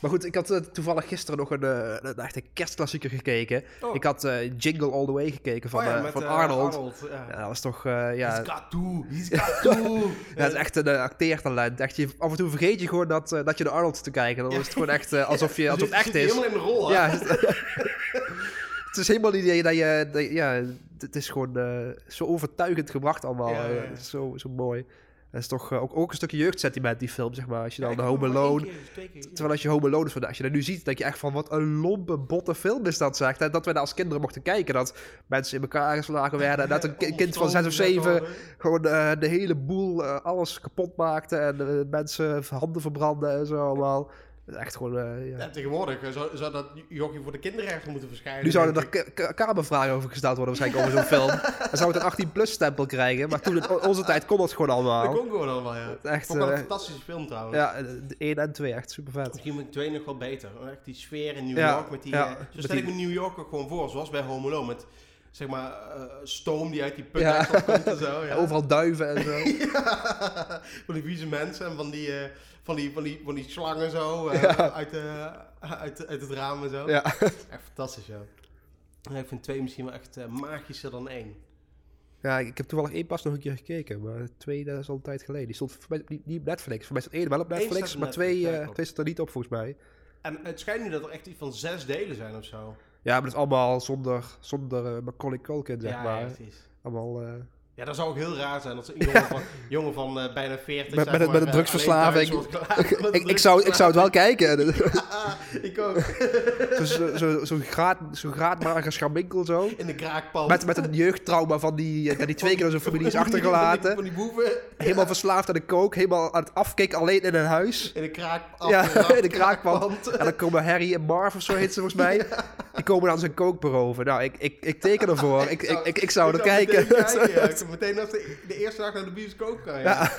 Maar goed, ik had eh, toevallig gisteren nog een, eh, een echte kerstklassieker gekeken. Oh. Ik had eh, Jingle All The Way gekeken van, Oh ja, eh, met, van eh, Arnold. ja. Ja, dat is toch... eh, ja, He's got two, he's got dus two. ja, het is echt een eh, acteertalent. Echt, je, af en toe vergeet je gewoon dat, eh, dat je de Arnold te kijken. Dan is het gewoon echt eh, alsof, je, alsof Zit- het echt zit is. helemaal in de rol, hè? Ja, het, het is helemaal niet dat je... Dat, je- ja, het- het is gewoon eh, zo overtuigend gebracht allemaal. Ja, ja, ja. Eh, Zo, zo mooi. Dat is toch eh, ook, ook een stukje jeugdsentiment, die film, zeg maar. Als je dan Ja, ik de heb Home hem maar één Alone... keer, twee keer, ja. Terwijl als je Home Alone van, als je dat nu ziet, denk je echt van wat een lompe, botte film is dat, zeg. Dat, dat we daar als kinderen mochten kijken, dat mensen in elkaar geslagen werden. En dat een ki- kind van zes of zeven gewoon eh, de hele boel, eh, alles kapot maakte. En eh, mensen handen verbranden en zo allemaal. Dat is Echt gewoon, eh, ja. Ja, tegenwoordig eh, zou, zou dat jochie voor de kinderrechten moeten verschijnen. Nu zouden er denk ik. ka- ka- kamervragen over gesteld worden waarschijnlijk over zo'n film. Dan zou het een 18-plus stempel krijgen. Maar toen, in o- onze tijd, kon dat gewoon Dat allemaal. kon gewoon allemaal, ja. Echt, Vond ik wel eh, een fantastische film trouwens. Ja, 1 en 2, echt super vet. Misschien moet twee nog wel beter. Echt die sfeer in New Ja, York. Met die, ja, eh, zo met stel die- ik me New York ook gewoon voor. Zoals bij Home Alone. Met zeg maar eh, stoom die uit die put Ja. uitkomt komt en zo. Ja. Overal duiven en zo. Ja. Van die vieze mensen en van die, eh, van die, van die, van die slangen zo. eh, uit, de, uit, uit het raam en zo. Ja. Echt fantastisch, ja. Ja, Ik vind twee misschien wel echt eh, magischer dan één. Ja, ik heb toevallig één pas nog een keer gekeken, maar twee dat is al een tijd geleden. Die stond voor mij niet- niet op Netflix. Voor mij staat één wel op Eén Netflix, staat op maar Netflix, twee, ja, eh, klopt. twee staat er niet op volgens mij. En het schijnt nu dat er echt iets van zes delen zijn of zo. Ja, maar dat is allemaal zonder, zonder eh, Macaulay Culkin, zeg ja, maar. ja, precies. Allemaal, eh, Ja, dat zou ook heel raar zijn. Als een jongen van, jongen van eh, bijna 40. Met- zeg met een- met een eh, drugsverslaving. alleen thuis wordt klaar met ik, ik, een zou, ik zou het wel kijken. drugsverslaving. ik ook. Zo'n zo, zo, zo'n graad, zo graadmager scharminkel zo. In de kraakpan. Met, met een jeugdtrauma van die, eh, dat die twee keer door zijn familie is achtergelaten. Van die, van die boeven. Helemaal verslaafd aan de kook, helemaal aan het afkicken alleen in een huis. In de kraakpan. Ja, in de kraakpand. En dan komen Harry en Marv of zo heet ze volgens mij. Die komen dan zijn kook beroven. Nou, ik, ik, ik teken ervoor. Ik, ik, ik, ik zou er kijken. meteen kijken, ja. Ik zou meteen als de, de eerste dag naar de bioscoop gaan. ja.